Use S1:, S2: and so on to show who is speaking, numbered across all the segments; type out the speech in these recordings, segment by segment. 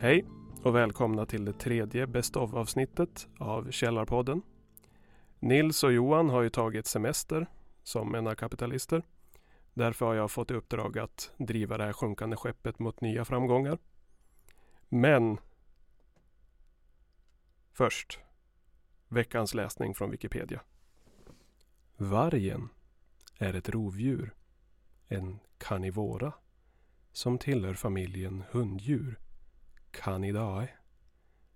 S1: Hej och välkomna till det tredje Best of-avsnittet av Källarpodden. Nils och Johan har ju tagit semester som ena kapitalister. Därför har jag fått i uppdrag att driva det här sjunkande skeppet mot nya framgångar. Men först veckans läsning från Wikipedia. Vargen är ett rovdjur, en carnivora, som tillhör familjen hunddjur, Canidae.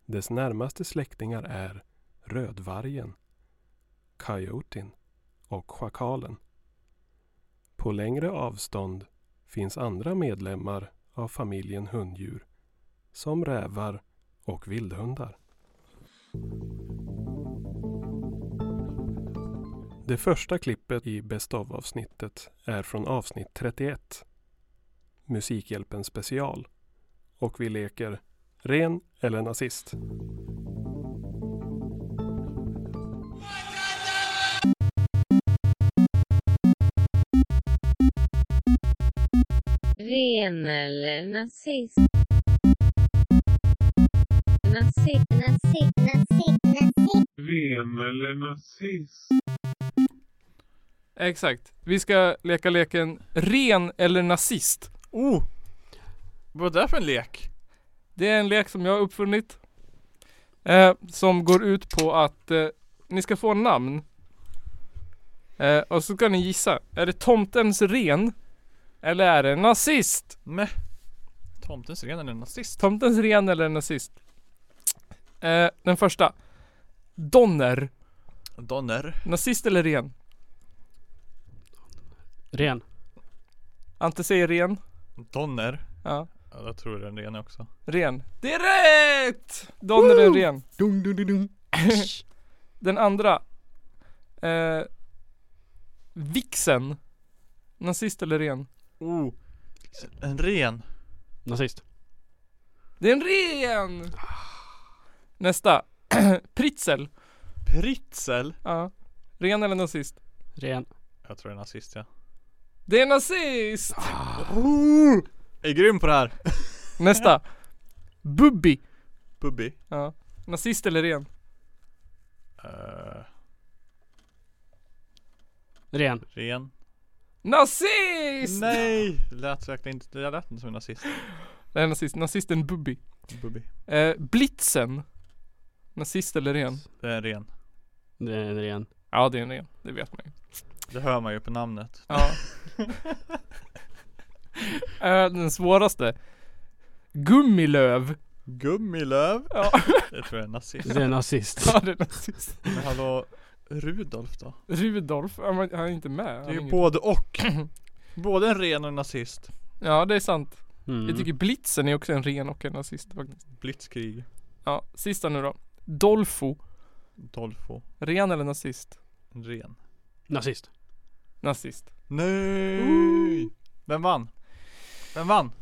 S1: Dess närmaste släktingar är rödvargen, coyoten och schakalen. På längre avstånd finns andra medlemmar av familjen hunddjur som rävar och vildhundar. Det första klippet i Best of-avsnittet är från avsnitt 31, Musikhjälpen special, och vi leker ren eller nazist.
S2: Ren eller nazist? Nazist, nazist, nazist, nazist.
S3: Ren eller nazist?
S4: Exakt. Vi ska leka leken ren eller nazist.
S5: Oh! Vad är det för en lek?
S4: Det är en lek som jag har uppfunnit. Eh, som går ut på att eh, ni ska få namn. Eh, och så ska ni gissa. Är det tomtens ren? Eller är det nazist?
S5: Meh. Tomtens ren är en nazist.
S4: Tomtens ren eller nazist? Eh, den första. Donner.
S5: Donner.
S4: Nazist eller ren?
S6: Ren.
S4: Ante säger ren.
S5: Donner.
S4: Ja.
S5: Ja, jag tror den ren också.
S4: Ren. Det är rätt! Donner är ren.
S6: Dung, dung, dung, dung.
S4: Den andra. Eh, vixen. Nazist eller ren?
S5: Oh. En ren.
S6: Nazist.
S4: Det är en ren! Nästa. Pritzel.
S5: Pritzel.
S4: Ja. Ren eller nazist?
S6: Ren.
S5: Jag tror det är nazist ja.
S4: Det är nazist!
S5: Oh! Jag är grym på det här.
S4: Nästa. Bubbi.
S5: Bubbi.
S4: Ja. Nazist eller ren?
S5: Eh,
S6: Ren.
S5: ren.
S4: Nazist!
S5: Nej! Det lät verkligen inte, det lät inte som en nazist.
S4: Det är nazist. Nazisten Bubbi.
S5: Bubbi.
S4: Eh, Blitzen. Nazist eller ren?
S5: Det är en ren.
S6: Det är en ren.
S4: Ja det är en ren. Det vet man ju.
S5: Det hör man ju på namnet.
S4: Ja. Eh, Den svåraste. Gummilöv.
S5: Gummilöv.
S4: Ja,
S5: Det tror jag är en nazist.
S6: Det är nazist.
S4: ja det är nazist.
S5: Men hallå. Rudolf då?
S4: Rudolf, ja, men han är inte med.
S5: Det
S4: Han
S5: är ju
S4: ingen-
S5: både och. Både en ren och en nazist.
S4: Ja det är sant.
S6: Mm.
S4: Jag tycker Blitzen är också en ren och en nazist faktiskt.
S5: Blitzkrig.
S4: Ja, sista nu då. Dolfo.
S5: Dolfo.
S4: Ren eller nazist?
S5: En ren.
S6: Nazist.
S4: Nazist.
S5: Nej! Vem vann? Vem vann?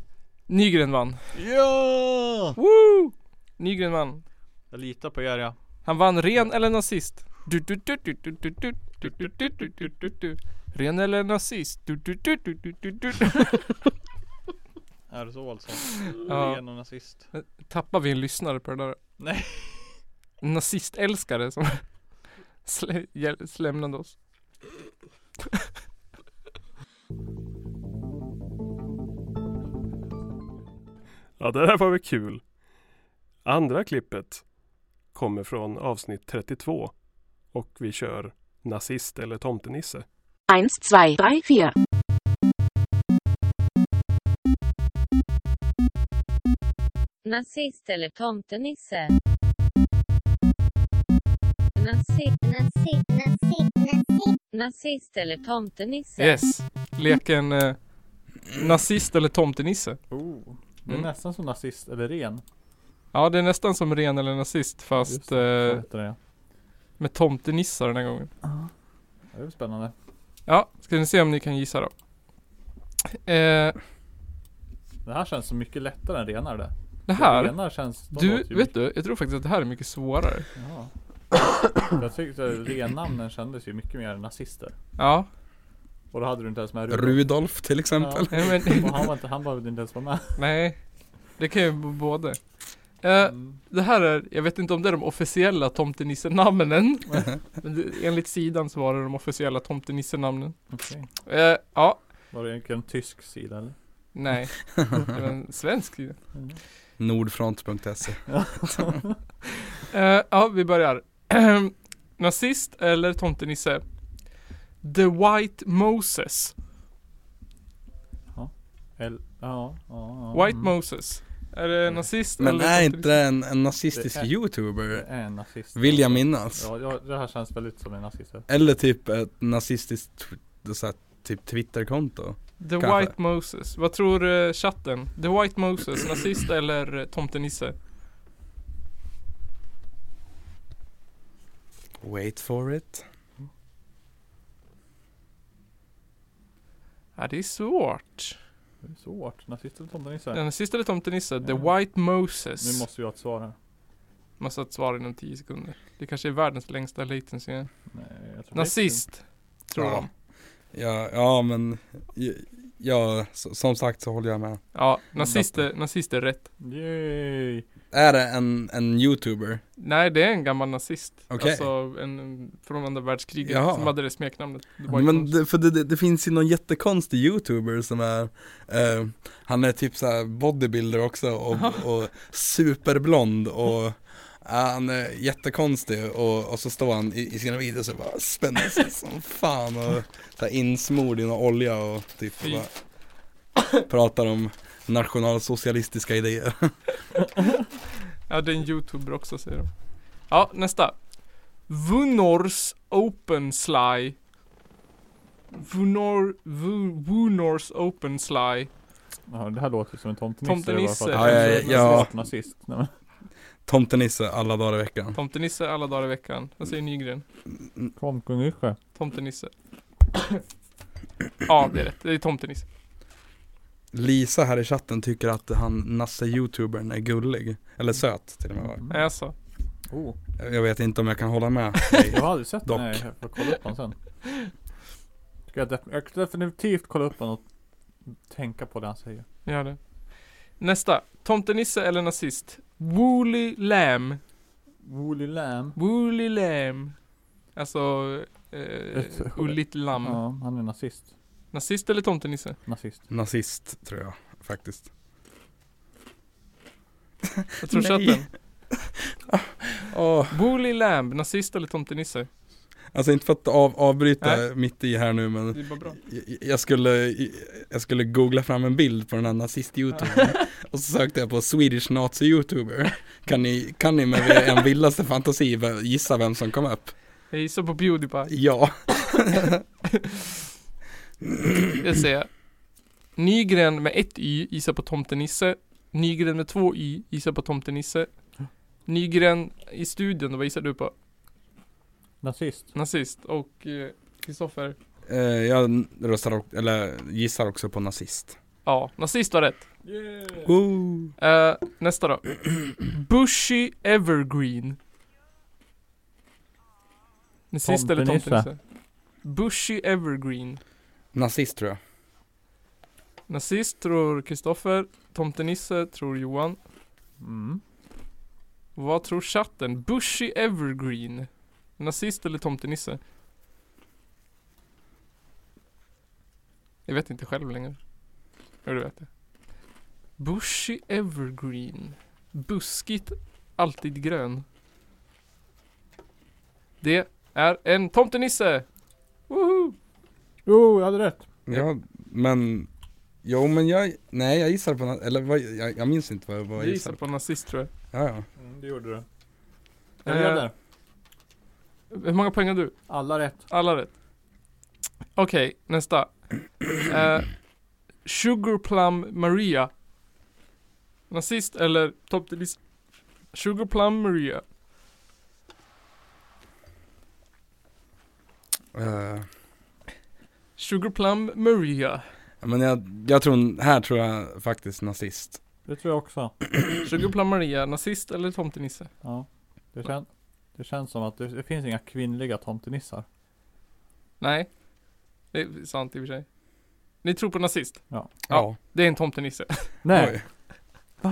S4: Nygren vann.
S5: Ja!
S4: Woo! Nygren vann.
S5: Jag litar på er ja.
S4: Han vann ren eller nazist. Du, du, du, du, du, du, du, du, du, du, du, du, du, du. Ren eller nazist. Du, du, du, du, du, du, du.
S5: Är det så alltså?
S4: Ja.
S5: Ren och nazist.
S4: Tappar vi en lyssnare på det där?
S5: Nej.
S4: Nazistälskare som slä, hjäl- lämnade oss.
S1: Ja, det där var väl kul. Andra klippet kommer från avsnitt 32 och vi kör nazist eller tomtenisse.
S7: Eins, zwei, drei, vier.
S2: Nazist eller tomtenisse? Nazist, nazist, nazist, nazist. Nazist eller tomtenisse?
S4: Yes. Leken eh, nazist eller tomtenisse.
S5: Oh. Det är
S4: Mm.
S5: nästan som nazist eller ren.
S4: Ja det är nästan som ren eller nazist fast eh,
S5: heter det.
S4: med tomtenissar den här gången.
S5: Det är spännande.
S4: Ja, ska ni se om ni kan gissa då. Eh,
S5: Det här känns så mycket lättare än renare det.
S4: det här.
S5: Renar känns... de
S4: Du,
S5: låter ju
S4: vet du, jag tror faktiskt att det här är mycket svårare.
S5: mycket- Ja. Jag tyckte rennamnen kändes ju mycket mer nazister.
S4: Ja,
S5: Och då hade du inte ens med
S8: Rudolf till exempel.
S5: Ja.
S4: nej, men,
S5: Och han var inte, han behövde inte ens vara med.
S4: nej. Det kan ju vara både. Eh,
S5: Mm.
S4: det här är, jag vet inte om det är de officiella tomtenissenamnen. men det- enligt sidan så var det de officiella tomtenissenamnen.
S5: Okej.
S4: Eh, ja,
S5: Var det egentligen en tysk sida eller? Mm.
S4: nej. Det var en svensk sida.
S8: Nordfront.se.
S4: Eh, ja, vi börjar. Nazist eller tomtenisse? The White Moses.
S5: Eller, ja, ja, ja. Mm.
S4: White Moses. Är det nazist
S8: Mm. Men
S4: eller
S8: är inte
S4: tomtenisse?
S8: det en, en nazistisk
S5: Det är-
S8: youtuber?
S5: Det är en nazist. alltså.
S8: Vill jag minnas.
S5: Ja, ja, det här känns väldigt som en nazist.
S8: Eller typ ett nazistiskt tw- så här, typ twitterkonto.
S4: The
S8: Kanske.
S4: White Moses. Vad tror eh, chatten? The White Moses, nazist eller eh, tomtenisse?
S8: Wait for it.
S4: Ja, det är svårt.
S5: Det är svårt. Nazist eller
S4: Ja,
S5: tomtenisse?
S4: Nazist eller tomtenisse? The
S5: Ja.
S4: White Moses.
S5: Nu måste vi ha ett svar här.
S4: Måste ha ett svar inom 10 sekunder. Det kanske är världens längsta latency.
S5: Nej, jag tror
S4: Nazist. Tror
S8: Ja.
S4: de.
S8: Ja, ja men, j- ja, så, som sagt så håller jag med.
S4: Ja, nazist är, nazist är rätt.
S5: det inte. Yay!
S8: Är det en, en youtuber?
S4: Nej, det är en gammal nazist.
S8: Okej.
S4: Alltså en från andra världskriget
S8: Jaha.
S4: som hade det smeknamnet. The White
S8: Men
S4: Moses.
S8: det, för det, det, det finns ju någon jättekonstig youtuber som är, eh, han är typ såhär bodybuilder också och, och superblond och ja, han är jättekonstig och, och så står han i, i sina videos och bara spänner sig som fan och så här insmord i någon olja och typ
S4: Fy.
S8: bara, pratar om nationalsocialistiska idéer.
S4: Ja, det är en youtuber också säger de. Ja, nästa. Vunors Open Sly. Vunor, Vu- Vunors Open Sly.
S5: Ja, det här låter ju som en tomtenisse.
S4: Tomtenisse.
S5: Det var
S4: Ja,
S5: för att-
S8: ja, ja.
S5: Smart nazist. Nej, men,
S8: Tomtenisse alla dagar i veckan.
S4: Tomtenisse alla dagar i veckan. Vad säger Nygren?
S5: kom kung Yrsjö.
S4: Tomtenisse. ja, det är rätt. Det är Tomtenisse.
S8: Lisa här i chatten tycker att han Nasse-youtubern är gullig, eller söt till och med va?
S4: Nej, alltså.
S5: Mm. Oh.
S8: Jag vet inte om jag kan hålla med
S5: Jag har aldrig sett
S8: Dock.
S5: den. Nej, jag får kolla upp den sen. Ska jag, def- jag ska definitivt kolla upp den och tänka på det han säger.
S4: Gör det. Nästa. Tomtenisse eller nazist? Wooly Lamb.
S5: Woolly Lamb.
S4: Wooly Lamb. Alltså, eh,
S5: Ett-
S4: ulligt lamm.
S5: Ja, han är nazist.
S4: Nazist eller tomtenisse?
S5: Nazist.
S8: Nazist tror jag faktiskt
S4: Jag tror
S8: Nej.
S4: chatten.
S8: Åh,
S4: Wooly Lamb, nazist eller tomtenisse?
S8: Alltså inte för att av, avbryta
S4: Nej.
S8: mitt i här nu men
S4: Det är bara bra.
S8: jag, jag, skulle, jag skulle googla fram en bild på den här nazist-youtubern Och så sökte jag på Swedish Nazi-youtuber kan ni, kan ni med er en vildaste fantasi vä- gissa vem som kom upp?
S4: Jag gissar på Pewdiepie.
S8: Ja,
S4: Det ser jag. Nygren med ett Y gissar på tomtenisse. Nygren med två Y gissar på tomtenisse. Nygren i studion, vad gissar du på?
S5: Nazist.
S4: Nazist och eh, Kristoffer?
S8: Eh, jag röstar, och- eller gissar också på nazist
S4: ja, nazist var rätt.
S8: Ooh.
S4: Eh, nästa då. Bushy Evergreen. Nazist eller
S5: Tomtenisse.
S4: tomtenisse? Bushy Evergreen.
S8: Nazist tror jag
S4: Nazist tror Kristoffer, tomtenisse tror Johan.
S5: Mm.
S4: Vad tror chatten? Bushy Evergreen. Nazist eller tomtenisse? Jag vet inte själv längre. Jo, du vet det. Bushy Evergreen. Buskigt, alltid grön. Det är en tomtenisse! Woho!
S5: Jo, jag hade rätt.
S8: Ja, men Jo men jag, nej jag gissar på, na- eller vad, jag, jag minns inte vad, vad jag
S4: Vi gissar
S8: gissar på.
S4: på nazist tror jag.
S8: Ja, ja.
S5: Mm, det gjorde du.
S4: Eh.
S5: Jag leder.
S4: Hur många poäng har du?
S5: Alla rätt.
S4: Alla rätt. Okej, nästa. Eh, Sugar Plum Maria. Nazist eller toppdelist? Sugar Plum Maria.
S8: Eh,
S4: Sugar Plum Maria.
S8: ja, men jag, jag tror, här tror jag faktiskt nazist.
S5: Det tror jag också.
S4: Sugar Plum Maria, nazist eller tomtenisse?
S5: Ja. Det känns. Det känns som att det, det finns inga kvinnliga tomtenissar.
S4: Nej. Det är sant i och för sig. Ni tror på nazist.
S8: Ja.
S4: Det är en tomtenisse.
S5: Nej,
S8: Oj.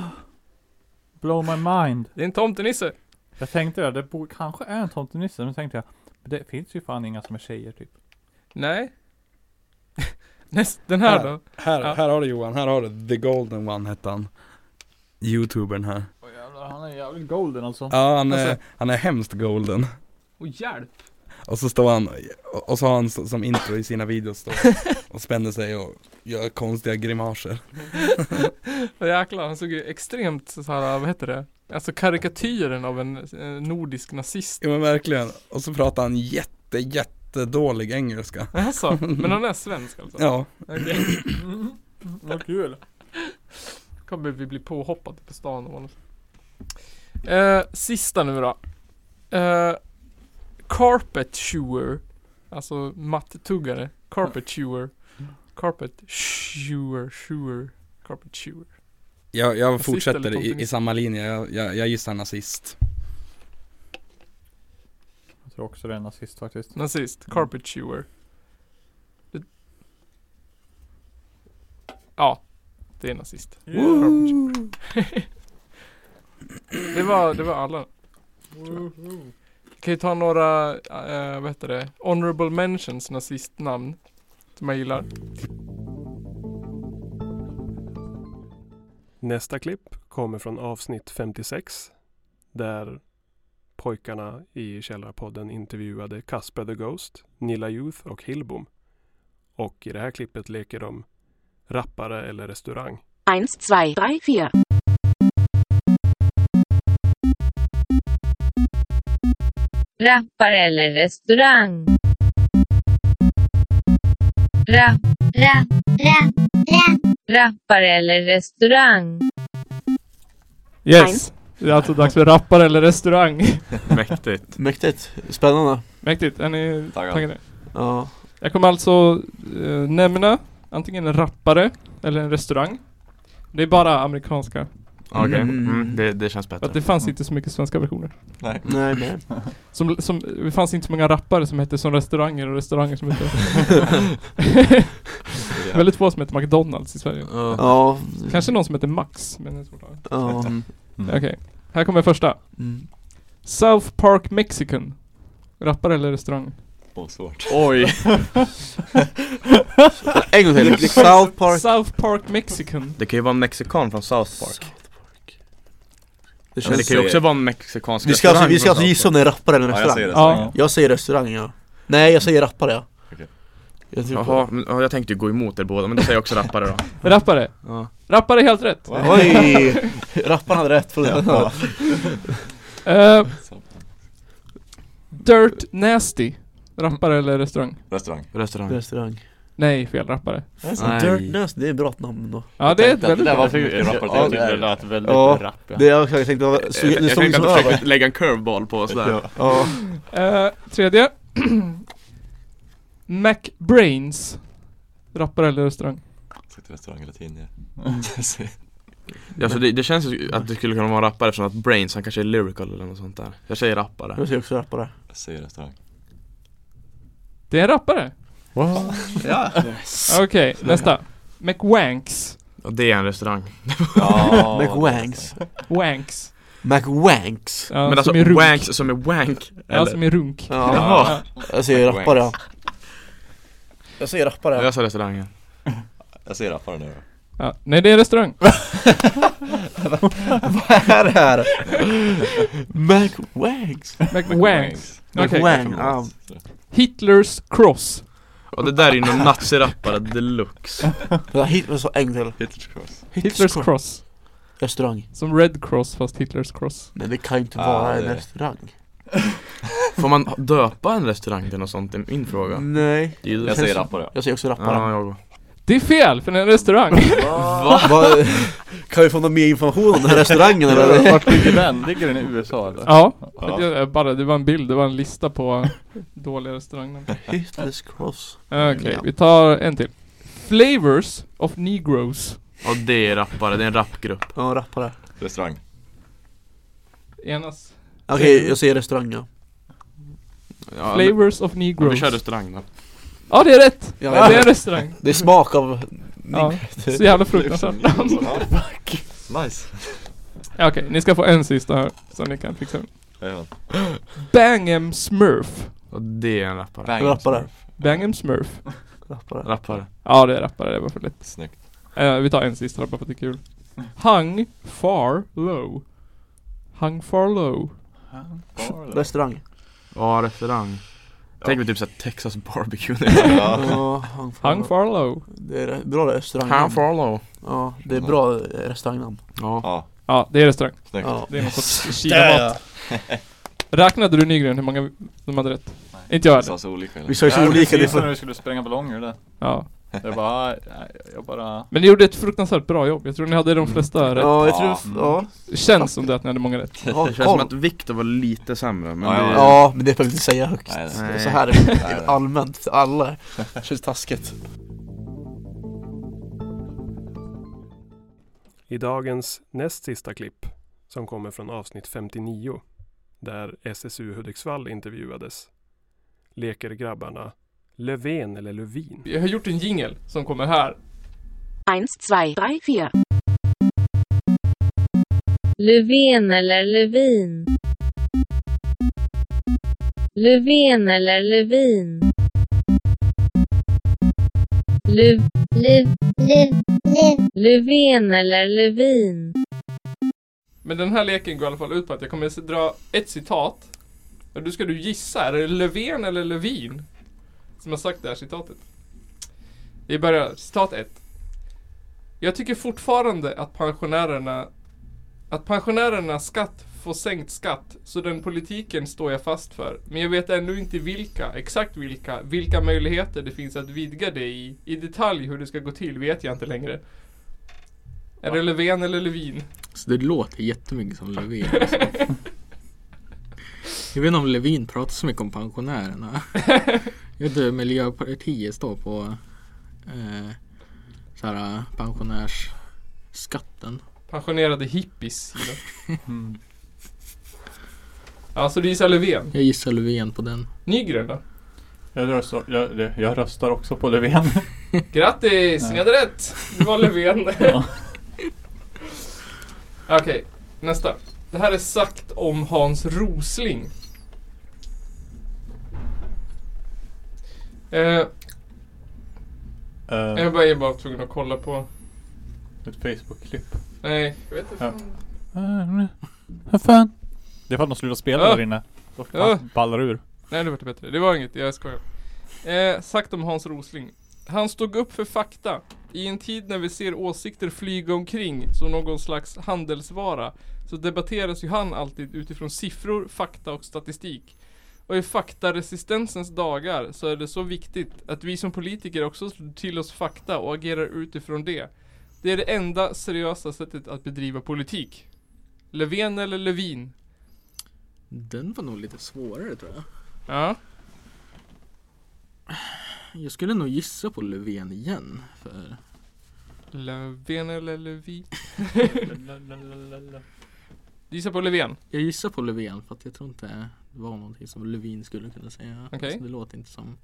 S5: blow my mind.
S4: Det är en tomtenisse.
S5: Jag tänkte det, det borde, kanske är en tomtenisse, men tänkte jag. men Det finns ju fan inga som är tjejer typ.
S4: Nej. Näst, den här
S8: Här.
S4: då.
S8: Här,
S4: Ja.
S8: här har du Johan, här har du The Golden One hette han. Youtubern här.
S5: Åh jävlar, han är jävligt golden alltså.
S8: Ja han är,
S4: Alltså-
S8: han är hemskt golden.
S4: Åh hjälp.
S8: Och så står han, och- och så har han s- som intro i sina videos står han och spänner sig och gör konstiga grimaser.
S4: Åh jäklar, han såg ju extremt så här, vad heter det? Alltså karikatyren av en eh, nordisk nazist.
S8: Ja men verkligen. Och så pratar han jätte, jättedålig engelska.
S4: Alltså, men han är svensk alltså?
S8: Ja.
S4: Okej.
S5: Mm. Vad kul.
S4: Kommer vi bli påhoppade på stan av honom. Eh, sista nu då. Eh, carpet chewer. Alltså mattuggare. Carpet chewer. Carpet chewer. chewer. Carpet chewer.
S8: Jag, jag
S4: Nazist
S8: fortsätter
S4: eller
S8: i, i
S4: kommunist?
S8: samma linje, jag, jag, jag gissar nazist.
S5: Jag tror också det är en nazist faktiskt.
S4: Nazist. Carpet chewer. Det... Ja. Det är nazist. Carpet chewer. det, var, det var alla. Kan ju ta några, eh, vad heter det, honorable mentions nazistnamn. Som jag gillar.
S1: Nästa klipp kommer från avsnitt 56 där pojkarna i Källarpodden intervjuade Casper the Ghost, Nilla Youth och Hillbom. Och i det här klippet leker de rappare eller restaurang.
S7: 1, 2, 3, 4.
S2: Rappar eller restaurang? Rapp, rapp, rapp, rapp. Rappar eller restaurang?
S4: Yes! Det är alltså dags för rappare eller restaurang.
S9: Mäktigt. Mäktigt. Spännande.
S4: Mäktigt, är ni
S9: Taggad.
S4: taggade?
S9: Ja.
S4: Jag kommer alltså eh, nämna antingen en rappare eller en restaurang. Det är bara amerikanska.
S9: Okej.
S8: Mm.
S9: Mm, det, det känns
S4: För att
S9: bättre.
S4: det fanns inte så mycket svenska versioner.
S5: Nej.
S9: Nej, nej.
S4: Som, som, det fanns inte så många rappare som hette som restauranger och restauranger som hette... Väldigt få som hette McDonalds i Sverige.
S6: Ja.
S9: Ja.
S4: Kanske någon som hette Max, men det är svårt att
S9: Ja.
S4: Okej, här kommer första.
S9: Mm.
S4: South Park Mexican. Rappare eller restaurang?
S10: Åh, svårt.
S9: Oj. en gång till.
S10: South Park.
S4: South Park Mexican.
S10: Det kan ju vara en mexikan från South Park.
S9: Det
S10: Men det
S9: känns...
S10: kan ju också vara en mexikansk
S9: Vi ska alltså,
S10: restaurang
S9: vi ska
S10: från
S9: alltså
S10: South
S9: gissa om
S10: Park.
S9: det är rappare eller
S10: Ja, jag
S9: restaurang.
S10: säger
S4: Ja.
S10: restaurang.
S9: Jag säger restaurang ja. Nej, jag säger rappare ja.
S10: Okej.
S9: Jag tror
S10: Jaha,
S9: på-
S10: men, ja, jag tänkte ju gå emot er båda men då säger jag också rappare då.
S4: Rappare.
S10: Ja.
S4: Rappare är helt rätt.
S9: Oj! Rapparen hade rätt från det.
S4: Eh, Dirt Nasty. Rappare eller restaurang?
S10: Restaurang. Restaurang.
S9: Restaurang.
S4: Nej, fel rappare.
S10: Nej.
S9: Dirt Nurse, det är ett bra namn då.
S4: Ja, det är ett väldigt bra.
S9: Ja, det är-
S10: lät väldigt
S9: Ja.
S10: rapp
S9: Det jag, jag tänkte, var- så,
S10: Jag,
S9: nu
S10: jag
S9: såg vi
S10: tänkte att du
S9: som över.
S10: försökte lägga en curveball på oss där.
S9: Ja.
S4: Eh, tredje. McBrains. Rappare eller restaurang?
S10: Ja, så det, det känns ju att det skulle kunna vara en rappare eftersom att Brains, han kanske är lyrical eller något sånt där. Jag säger rappare.
S9: Jag ser också rappare.
S4: Det är en rappare.
S10: Ja.
S4: Okej, nästa. McWanks.
S10: Och det är en restaurang.
S9: McWanks.
S4: Wanks.
S9: McWanks.
S4: Ja,
S10: Men alltså
S4: som är runk.
S10: wank som är wank.
S4: Ja,
S10: Eller?
S4: som är runk.
S9: Ja.
S10: Jaha.
S9: Jag säger rappare ja. Jag säger rappare.
S10: Jag sa restaurangen.
S4: Ja, nej, det är restaurang.
S9: Vad är det här? McWanks.
S4: McWanks. Okej.
S9: McWang. ja.
S4: Hitlers Cross.
S10: Och det där är ju någon nazirappare deluxe.
S9: Ja, Hitler så en till.
S4: Hitlers Cross.
S9: Restaurang.
S4: Som Red Cross fast Hitlers Cross.
S9: Men det kan ju inte vara en restaurang.
S10: Får man döpa en restaurang till något sånt? Det är min
S9: Mm.
S10: fråga.
S9: Nej.
S10: Det är ju-
S9: rappare. Jag säger också
S6: Ah,
S10: Ja,
S9: rappare.
S10: jag går.
S4: Det är fel, för det är en restaurang.
S9: Vad- Kan vi få någon mer information om den här restaurangen eller?
S5: Vart ligger den? Ligger den i USA eller?
S4: ja. Det, är bara, det var en bild, det var en lista på dåliga restaurangnamn.
S9: Hitlers cross.
S4: Okej,
S10: Mm,
S4: vi tar en till. Flavors of Negroes.
S10: Ja det är rappare, det är en rappgrupp.
S9: Ja, rappare.
S4: Enas.
S9: Okej, jag säger restaurang ja.
S10: Ja,
S4: Flavors of
S10: men vi
S4: Negroes.
S10: kör restaurang då.
S4: Ja det är rätt!
S9: Ja,
S4: det är en restaurang.
S9: Det är smak av...
S4: Ja. Så jävla fruktansvärt namn.
S11: Nice.
S4: Ja, Okej, ni ska få en sista här som ni kan fixa.
S11: Jajamän.
S4: Bangem Smurf.
S10: Och det är en rappare.
S11: Bang. Rappare.
S4: Bangem Smurf.
S10: Rappare.
S4: Ja det är rappare, det var för lätt.
S11: Snyggt.
S4: Eh, vi tar en sista bara för att det är kul. Hung far low. Hung far low.
S9: Restaurang.
S10: Ja, restaurang. Tänk mig typ såhär Texas barbecue.
S11: Ja.
S9: Ja, hang for-
S4: Hung far low.
S9: Det är bra
S10: Can
S9: restaurangnamn.
S10: follow.
S9: Ja, det är bra eh, restaurangnamn.
S10: Ja.
S11: Ja,
S4: Ja det är restaurang.
S11: snyggt.
S9: Ja.
S4: Det är någon sorts kinamat. Räknade du Nygren hur många de hade rätt? Inte jag
S11: Det
S4: heller.
S11: sa så olika eller?
S9: Vi sa ju så olika. Det är
S5: Precis när
S9: för...
S5: du skulle spränga ballonger där.
S4: Ja.
S5: Jag bara, "Ah, nej, jag bara...
S4: Men ni gjorde ett fruktansvärt bra jobb. Jag tror ni hade de flesta rätt.
S9: Ja, jag tror... Ja.
S4: Det känns som det att ni hade många rätt.
S9: Ja,
S10: Det känns som
S9: koll.
S10: att Viktor var lite sämre men
S11: Ja,
S10: det...
S9: Ja, men det behöver vi inte säga högt.
S11: Nej,
S10: nej.
S9: Så här
S11: Nej,
S9: är
S11: nej.
S9: allmänt för alla. Det känns taskigt.
S1: I dagens näst sista klipp, som kommer från avsnitt 59, där SSU Hudiksvall intervjuades, leker grabbarna Löfven eller Lövin.
S4: Jag har gjort en jingel som kommer här.
S7: 1, 2, 3, 4.
S2: Löfven eller Lövin? Löfven eller Lövin? Löv... Löv... Löv... Löfven eller Lövin?
S4: Men den här leken går i alla fall ut på att jag kommer att dra ett citat. Och du ska du gissa, är det Löfven eller Lövin? Som har sagt det här citatet. Vi börjar, citat 1. Jag tycker fortfarande att pensionärerna att pensionärernas skatt får sänkt skatt, så den politiken står jag fast för. Men jag vet ännu inte vilka, exakt vilka, vilka möjligheter det finns att vidga det i. I detalj hur det ska gå till vet jag inte längre. Är det Löfven eller Lövin?
S6: Så det låter jättemycket som Levin. Alltså. Jag vet inte om Levin pratar så mycket om pensionärerna. Jag vet inte, Miljöpartiet står på eh, så här, pensionärsskatten.
S4: Pensionerade hippies. Ida.
S5: Mm.
S4: Ja, Alltså, så du gissar Löfven.
S6: Jag gissar Löfven på den.
S4: Nygren då?
S5: Jag röstar, jag, det- jag röstar också på Löfven.
S4: Grattis! Ni
S5: Nej.
S4: hade rätt! Det var Löfven.
S5: Ja.
S4: Okej, nästa. Det här är sagt om Hans Rosling. Eh,
S5: Eh,
S4: jag var ju bara tvungen att kolla på...
S5: ett Facebook-klipp.
S4: Nej, jag vet inte.
S5: Ja. Vad fan? Det är för att de slutar spela
S4: Ja.
S5: där inne. De
S4: Ja.
S5: ballar ur.
S4: Nej, det var bättre. Det var inget, jag skojar. Eh, sagt om Hans Rosling. Han stod upp för fakta. I en tid när vi ser åsikter flyga omkring som någon slags handelsvara så debatteras ju han alltid utifrån siffror, fakta och statistik. Och i faktaresistensens dagar så är det så viktigt att vi som politiker också slår till oss fakta och agerar utifrån det. Det är det enda seriösa sättet att bedriva politik. Löfven eller Lövin?
S6: Den var nog lite svårare tror jag.
S4: Ja.
S6: Jag skulle nog gissa på Löfven igen. För
S4: Löfven eller Lövin? Gissa på Löfven.
S6: jag gissar på Löfven för att jag tror inte det var någonting som Löfven skulle kunna säga.
S4: Okej.
S6: Alltså, det låter inte som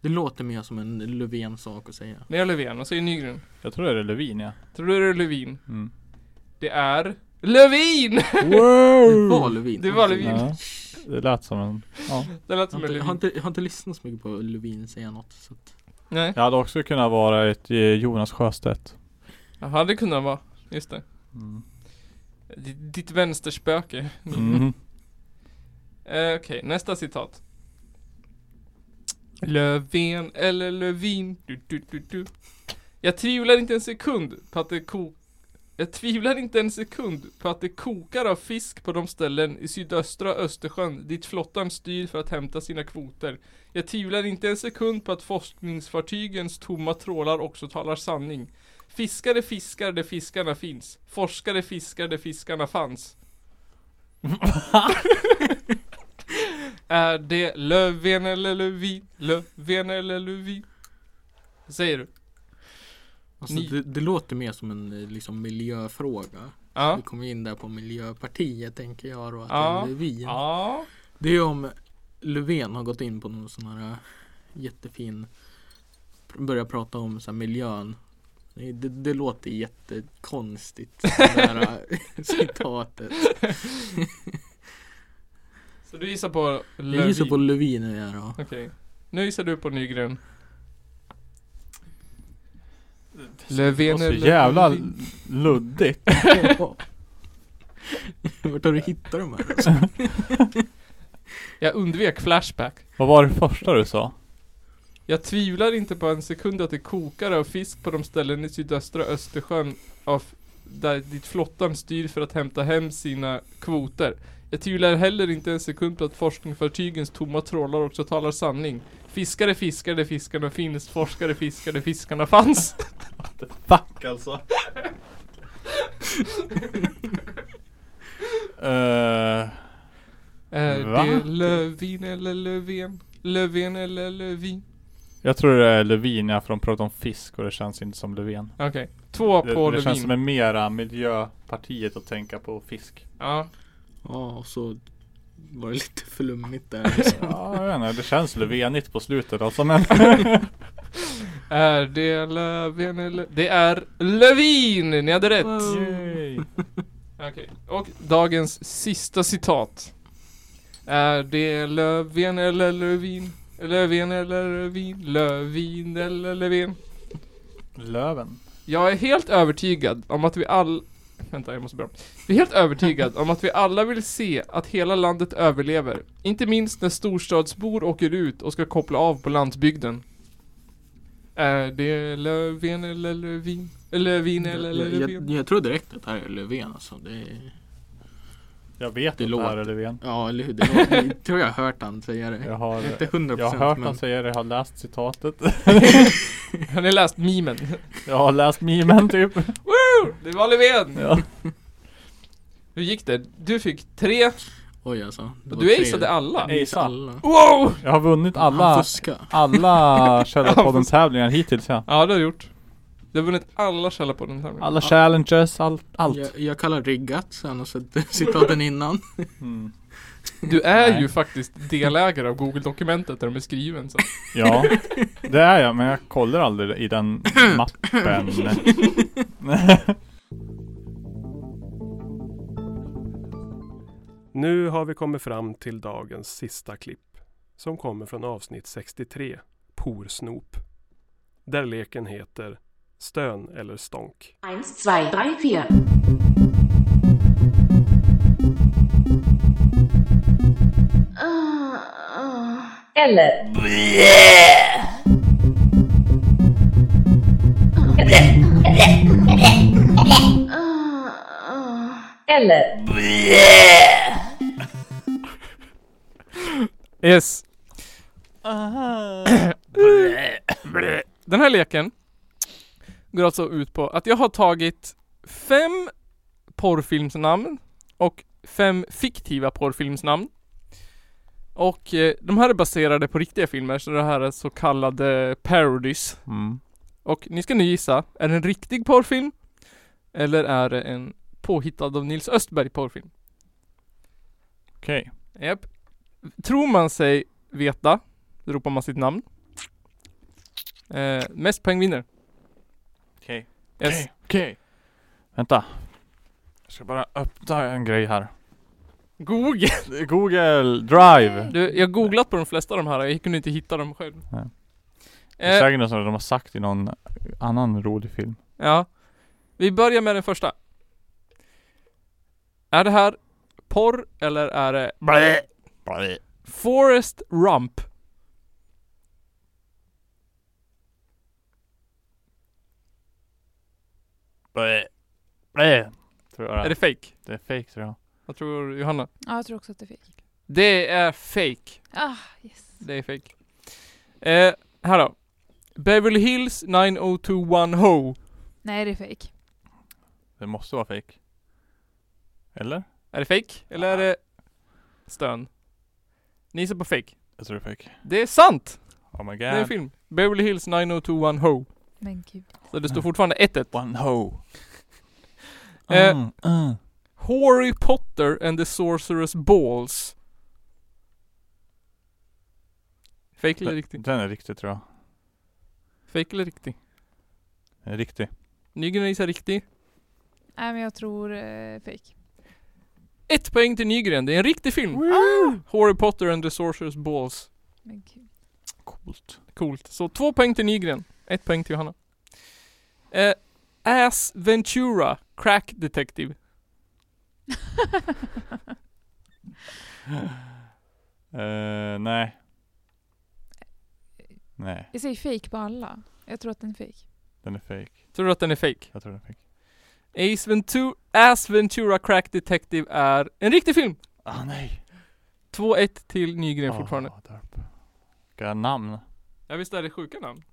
S6: det låter mer som en Löfven-sak att säga.
S4: Ni har Löfven, vad säger Nygren?
S5: Jag tror det är Lövin ja.
S4: Tror du det är Lövin?
S5: Mm.
S4: Det är Lövin!
S6: Det var Löfven.
S4: Det var Lövin.
S5: ja. Det lät som en... Ja.
S4: Det lät
S6: Jag
S4: som
S6: har,
S4: en
S6: inte, jag, har
S4: Lövin.
S6: inte, jag har inte lyssnat så mycket på Lövin säga något. Så att,
S4: Nej,
S5: Jag hade också kunnat vara ett eh, Jonas Sjöstedt.
S4: jaha det kunde han vara. Just det. Mm. D- ditt vänsterspöke.
S5: Mhm.
S4: Eh, Okej, nästa citat. Löfven eller Lövin. Du, du, du, du. Jag tvivlar inte en sekund på att det ko- Jag tvivlar inte en sekund på att det kokar av fisk på de ställen i sydöstra Östersjön dit flottan styr för att hämta sina kvoter. Jag tvivlar inte en sekund på att forskningsfartygens tomma trålar också talar sanning. Fiskare fiskar där fiskarna finns. Forskare fiskar där fiskarna fanns. Är det Löfven eller Lövin? Löfven eller Lövin? Vad säger du?
S6: alltså,
S4: Ni-
S6: det, det låter mer som en eh, liksom, miljöfråga.
S4: Ja.
S6: Vi kom in där på Miljöpartiet tänker jag då. Att
S4: Ja.
S6: det är Löfven.
S4: Ja.
S6: Det är om Löfven har gått in på någon sån här äh, jättefin Börjar prata om så här miljön det, det, det låter jättekonstigt det här citatet
S4: Så du gissar på Lövin?
S6: Jag gissar på Lövin är jag då
S4: Okej. Nu gissar du på Nygren. Löfven
S5: Det var
S4: är
S5: så jävla
S4: Löfven.
S5: luddigt.
S6: Vart har du hittat de här?
S4: Jag undvek Flashback.
S5: Vad var det första du sa?
S4: Jag tvivlar inte på en sekund att det kokar av fisk på de ställen i sydöstra Östersjön av där dit flottan styr för att hämta hem sina kvoter. Jag tvivlar heller inte en sekund på att forskningsfartygens tomma trålar också talar sanning. Fiskare fiskade, fiskarna finns. Forskare fiskade, fiskarna fanns.
S5: Fuck
S11: alltså.
S5: Eh,
S4: Är
S5: Va?
S4: Eh, det Lövin eller Löfven? Löfven eller Lövin?
S5: jag tror det är Lövin, ja, för de pratar om fisk och det känns inte som Löfven.
S4: Okej, två
S5: Det,
S4: på
S5: det
S4: Lövin.
S5: känns som en mera miljöpartiet att tänka på fisk.
S4: Ja.
S6: Ja och så var det lite flummigt där liksom.
S5: Ja, jag vet inte, det känns Löfvenigt på slutet alltså men.
S4: Är det Löfven eller... Det är Lövin! Ni hade rätt! Okej, och dagens sista citat. Är det Löfven eller Lövin? Löfven eller Lövin? Lövin eller Löfven?
S5: Löven.
S4: Jag är helt övertygad om att vi all... Vänta, jag måste börja om. Vi är helt övertygad om att vi alla vill se att hela landet överlever. Inte minst när storstadsbor åker ut och ska koppla av på landsbygden. Är det Löfven eller Lövin? Lövin eller
S6: jag, jag,
S4: Lövin?
S6: jag, jag tror direkt att det här är Löfven alltså. Det är...
S5: Jag vet
S6: det
S5: att det här är
S6: låter-
S5: Löfven.
S6: Ja eller hur. Det låter, jag tror jag har hört han säga det.
S5: Jag har,
S6: Inte 100%
S5: jag har hört
S6: men...
S5: han säga det, jag har läst citatet.
S4: Har ni läst memen?
S5: jag har läst memen typ.
S4: Woo! Det var Löfven!
S5: Ja.
S4: Hur gick det? Du fick tre
S6: Oj alltså. det
S4: och
S6: var
S4: du
S6: tre.
S4: aceade alla.
S5: Nej, sa-
S6: alla.
S4: Wow!
S5: Jag har vunnit
S6: Han
S5: alla,
S6: fuskar.
S5: alla Källarpodden tävlingar hittills ja.
S4: Ja, det har du gjort. Du har vunnit alla källor på den här.
S5: Alla challenges, allt. allt.
S6: Jag, jag kallar riggat sen och så citaten innan.
S5: Mm.
S4: Du är
S5: Nej.
S4: ju faktiskt delägare av Google-dokumentet där de är skriven så.
S5: Ja, det är jag men jag kollar aldrig i den mappen.
S1: Nu har vi kommit fram till dagens sista klipp som kommer från avsnitt 63, Porsnop. Där leken heter Stön eller stånk.
S7: 1, 2, 3, 4.
S2: Eller. Eller.
S4: Yes. Den här leken går alltså ut på att jag har tagit fem porrfilmsnamn och fem fiktiva porrfilmsnamn. Och eh, de här är baserade på riktiga filmer, så det här är så kallade parodies.
S5: Mm.
S4: Och ni ska nu gissa, är det en riktig porrfilm? Eller är det en påhittad av Nils Östberg porrfilm?
S5: Okej.
S4: Japp. Tror man sig veta, ropar man sitt namn. Eh, mest poäng vinner.
S5: Okej.
S4: Yes.
S5: Okej. Okej. Vänta. Jag ska bara öppna en grej här.
S4: Google.
S5: Google Drive.
S4: Du, jag har googlat på de flesta av de här, jag kunde inte hitta dem själv.
S5: Nej. Det är
S4: Eh,
S5: säkert något som de har sagt i någon annan rolig film.
S4: ja. Vi börjar med den första. Är det här porr eller är det Forest Rump?
S5: Tror jag
S4: Är det fake?
S5: Det är fake tror jag.
S4: Vad tror Johanna?
S12: Ja, jag tror också att det fick.
S4: Det är fake.
S12: Ah, yes.
S4: Det är fake. Eh, här då. Beverly Hills 9021 Ho.
S12: Nej, det är fake.
S5: Det måste vara fake. Eller?
S4: Är det fake? Eller är det stön? Ni ser på fake.
S5: Jag tror det är fake.
S4: Det är sant!
S5: Oh my god.
S4: Det är en film. Beverly Hills 9021 Ho.
S12: Men gud.
S4: Så det står fortfarande 1-1.
S5: One ho.
S4: Eh,
S5: Mm, mm.
S4: Harry Potter and the Sorcerer's Balls. Fake eller riktig?
S5: Den är riktig tror jag.
S4: Fake eller riktig?
S5: Den är riktig.
S4: Nygren gissar riktig.
S12: Nej men jag tror eh, fake.
S4: Ett poäng till Nygren, det är en riktig film! Ah! Harry Potter and the Sorcerer's Balls.
S12: Men gud.
S4: Coolt. Coolt. Så två poäng till Nygren, ett poäng till Johanna. Eh, Ass Ventura, Crack Detective.
S5: Eh, nej. Nej,
S12: Jag säger fake på alla. Jag tror att den är fake.
S5: den är fake.
S4: Tror du att den är fake?
S5: Jag tror den är fake.
S4: Ace Ventura, Ass Ventura Crack Detective är en riktig film!
S5: Ah nej.
S4: 2-1 till Nygren
S5: Ah,
S4: fortfarande.
S5: Ska jag ha namn?
S4: Ja visst är det sjuka namn?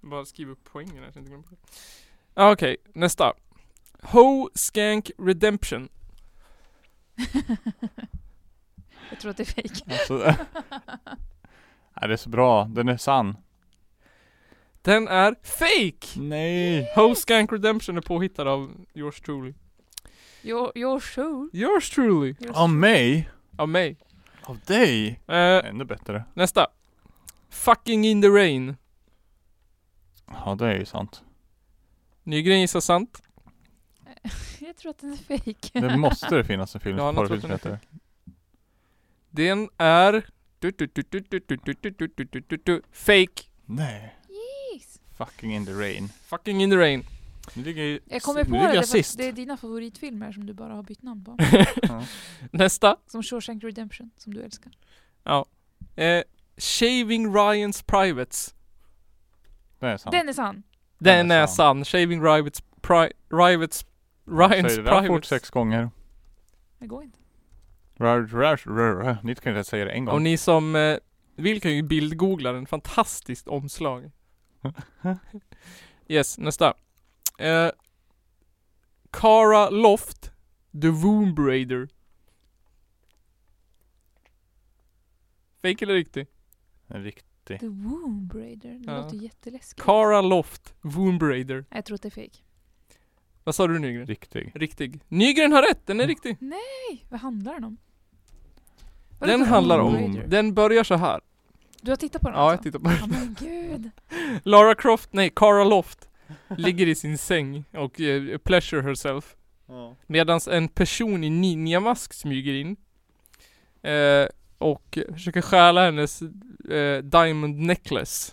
S4: Bara skriv upp poängen här så jag inte glömmer bort det. Ja, Okej, nästa. Ho Skank Redemption.
S12: Jag tror att det är fake.
S5: Alltså, nej, det är så bra. Den är sann.
S4: Den är fake!
S5: Nej.
S4: Ho Skank Redemption är påhittad av yours truly.
S12: You're, you're sure?
S4: Yours truly!
S12: Yours
S5: Av mig?
S4: Av mig.
S5: Av dig?
S4: Eh,
S5: Ännu bättre.
S4: nästa. Fucking in the rain.
S5: Ja, det är ju sant.
S4: Nygren gissar sant.
S12: Jag tror att den är fake.
S5: Det måste det finnas en film
S4: Ja,
S5: som
S4: något
S5: porrfilm
S4: som
S5: som
S4: är
S5: heter.
S4: Den är... du- du- du- du- du- du- du- du- du- du- du- du- du- Fake.
S5: Nej.
S12: Yes.
S5: Fucking in the rain.
S4: Fucking in the rain.
S5: Nu ligger jag,
S12: Jag kommer på
S5: nu
S12: det,
S5: ligger
S12: det,
S5: jag
S12: för att
S5: sist.
S12: det är dina favoritfilmer som du bara har bytt namn på.
S4: Nästa.
S12: Som Shawshank Redemption, som du älskar.
S4: Ja. Eh, Shaving Ryans Privates.
S5: Det är sant.
S12: Den är sann.
S4: Den, är sann. Shaving Ryans pri- Privates. Ryans
S5: Säg det där fort
S4: Privates.
S5: sex gånger.
S12: Det går inte.
S5: Rar, rar, rar, rar. Ni kan ju inte säga det en gång.
S4: Och ni som eh, vill kan ju bildgoogla den. Fantastiskt omslag. yes, nästa. Eh, Cara Loft. The Womb Raider. Fake eller riktig?
S5: En riktig.
S12: The Womb Raider. Det
S4: Ja.
S12: låter jätteläskigt.
S4: Cara Loft. Womb Raider.
S12: Nej, Jag tror att det är fake.
S4: Vad sa du Nygren?
S5: Riktig.
S4: Riktig. Nygren har rätt,
S12: Mm.
S4: den är riktig.
S12: Nej, vad handlar den om? Vadå
S4: Den
S12: för
S4: handlar
S12: Womb
S4: om,
S12: Raider?
S4: den börjar så här.
S12: Du har tittat på den
S4: Ja, jag
S12: alltså?
S4: tittar på den.
S12: Ja, men gud.
S4: Lara Croft, nej, Cara Loft ligger i sin säng och eh, pleasure herself.
S9: Ja.
S4: Medan en person i ninjamask smyger in. Eh, och försöker stjäla hennes eh, diamond necklace.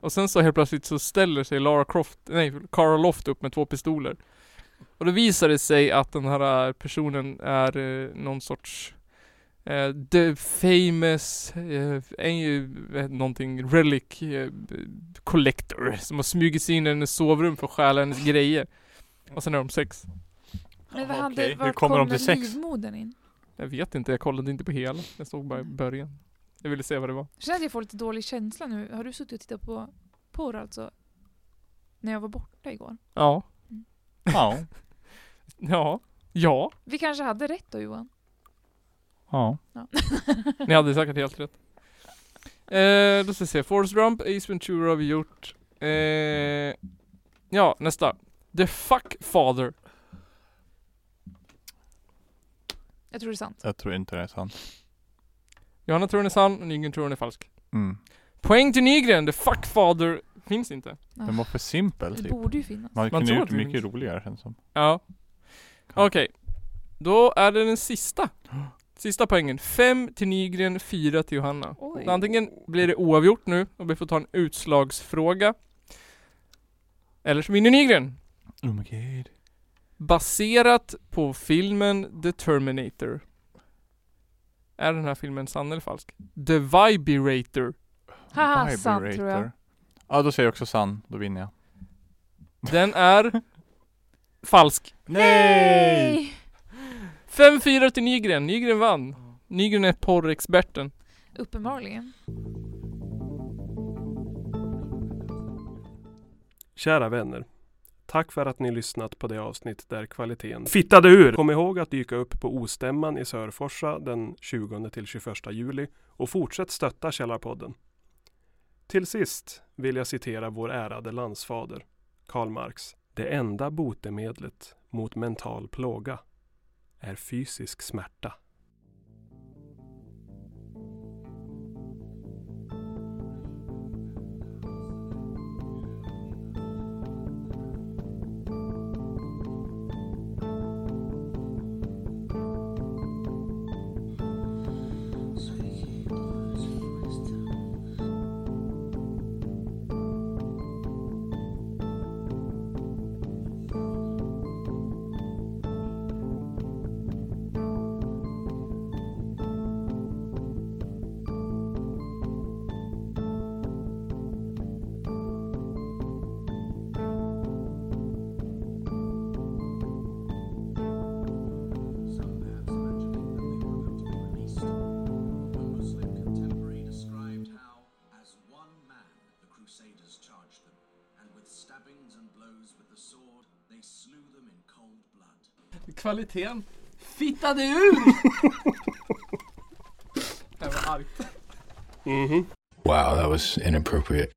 S4: Och sen så helt plötsligt så ställer sig Lara Croft, nej, Cara Loft upp med två pistoler. Och då visar det sig att den här eh, personen är eh, någon sorts eh, the famous, eh, en- eh, någonting, relic eh, collector som har smugit sig in i hennes sovrum för att stjäla hennes grejer. Och sen är de sex.
S12: Men vad
S5: Jaha,
S12: hade,
S5: okej.
S12: var
S5: Hur
S12: kommer
S5: kommer de till sex?
S12: livmodern in?
S4: Jag vet inte, jag kollade inte på hela. Jag såg bara i början. Jag ville se vad det var.
S12: Jag känner att jag får lite dålig känsla nu. Har du suttit och tittat på porr alltså? När jag var borta igår.
S4: Ja.
S5: Ja.
S4: Ja. Ja.
S12: Vi kanske hade rätt då Johan?
S5: Ja.
S12: Ja.
S4: Ni hade säkert helt rätt. Eh, då ska vi se. Forrest Rump, Ace Ventura har vi gjort. Eh, ja, nästa. The Fuck Father.
S12: Jag tror det är sant.
S5: Jag tror inte det är sant.
S4: Johanna tror den är sann och Nygren tror den är falsk.
S5: Mm.
S4: Poäng till Nygren! The Fuck Father finns inte.
S5: Den var för simpel
S12: Ah. Det
S5: typ.
S12: borde ju finnas.
S5: Man
S4: Man
S5: kunde
S4: tror
S5: gjort
S4: att det
S5: mycket
S4: finns.
S5: roligare känns som.
S4: Ja. Okej. Då är det den sista. Sista poängen. Fem till Nygren, fyra till Johanna.
S12: Oj.
S4: Så antingen blir det oavgjort nu och vi får ta en utslagsfråga. Eller så vinner Nygren.
S5: Oh my god.
S4: Baserat på filmen The Terminator. Är den här filmen sann eller falsk? The Vibrator.
S12: Haha, sant tror jag.
S5: Vibrator. Ja, då säger jag också sann. Då vinner jag.
S4: Den är falsk.
S12: Nej!
S4: 5-4 till Nygren. Nygren vann. Nygren är porrexperten.
S12: Uppenbarligen.
S1: Kära vänner. Tack för att ni lyssnat på det avsnitt där kvaliteten fittade ur. Kom ihåg att dyka upp på Ostämman i Sörforsa den 20-21 juli och fortsätt stötta Källarpodden. Till sist vill jag citera vår ärade landsfader, Karl Marx. Det enda botemedlet mot mental plåga är fysisk smärta.
S13: man, the Crusaders charged them, and with stabbings and blows with the sword, they slew them in cold blood.
S4: Kvaliteten fittade ur! Det här var argt.
S8: Wow, that was inappropriate.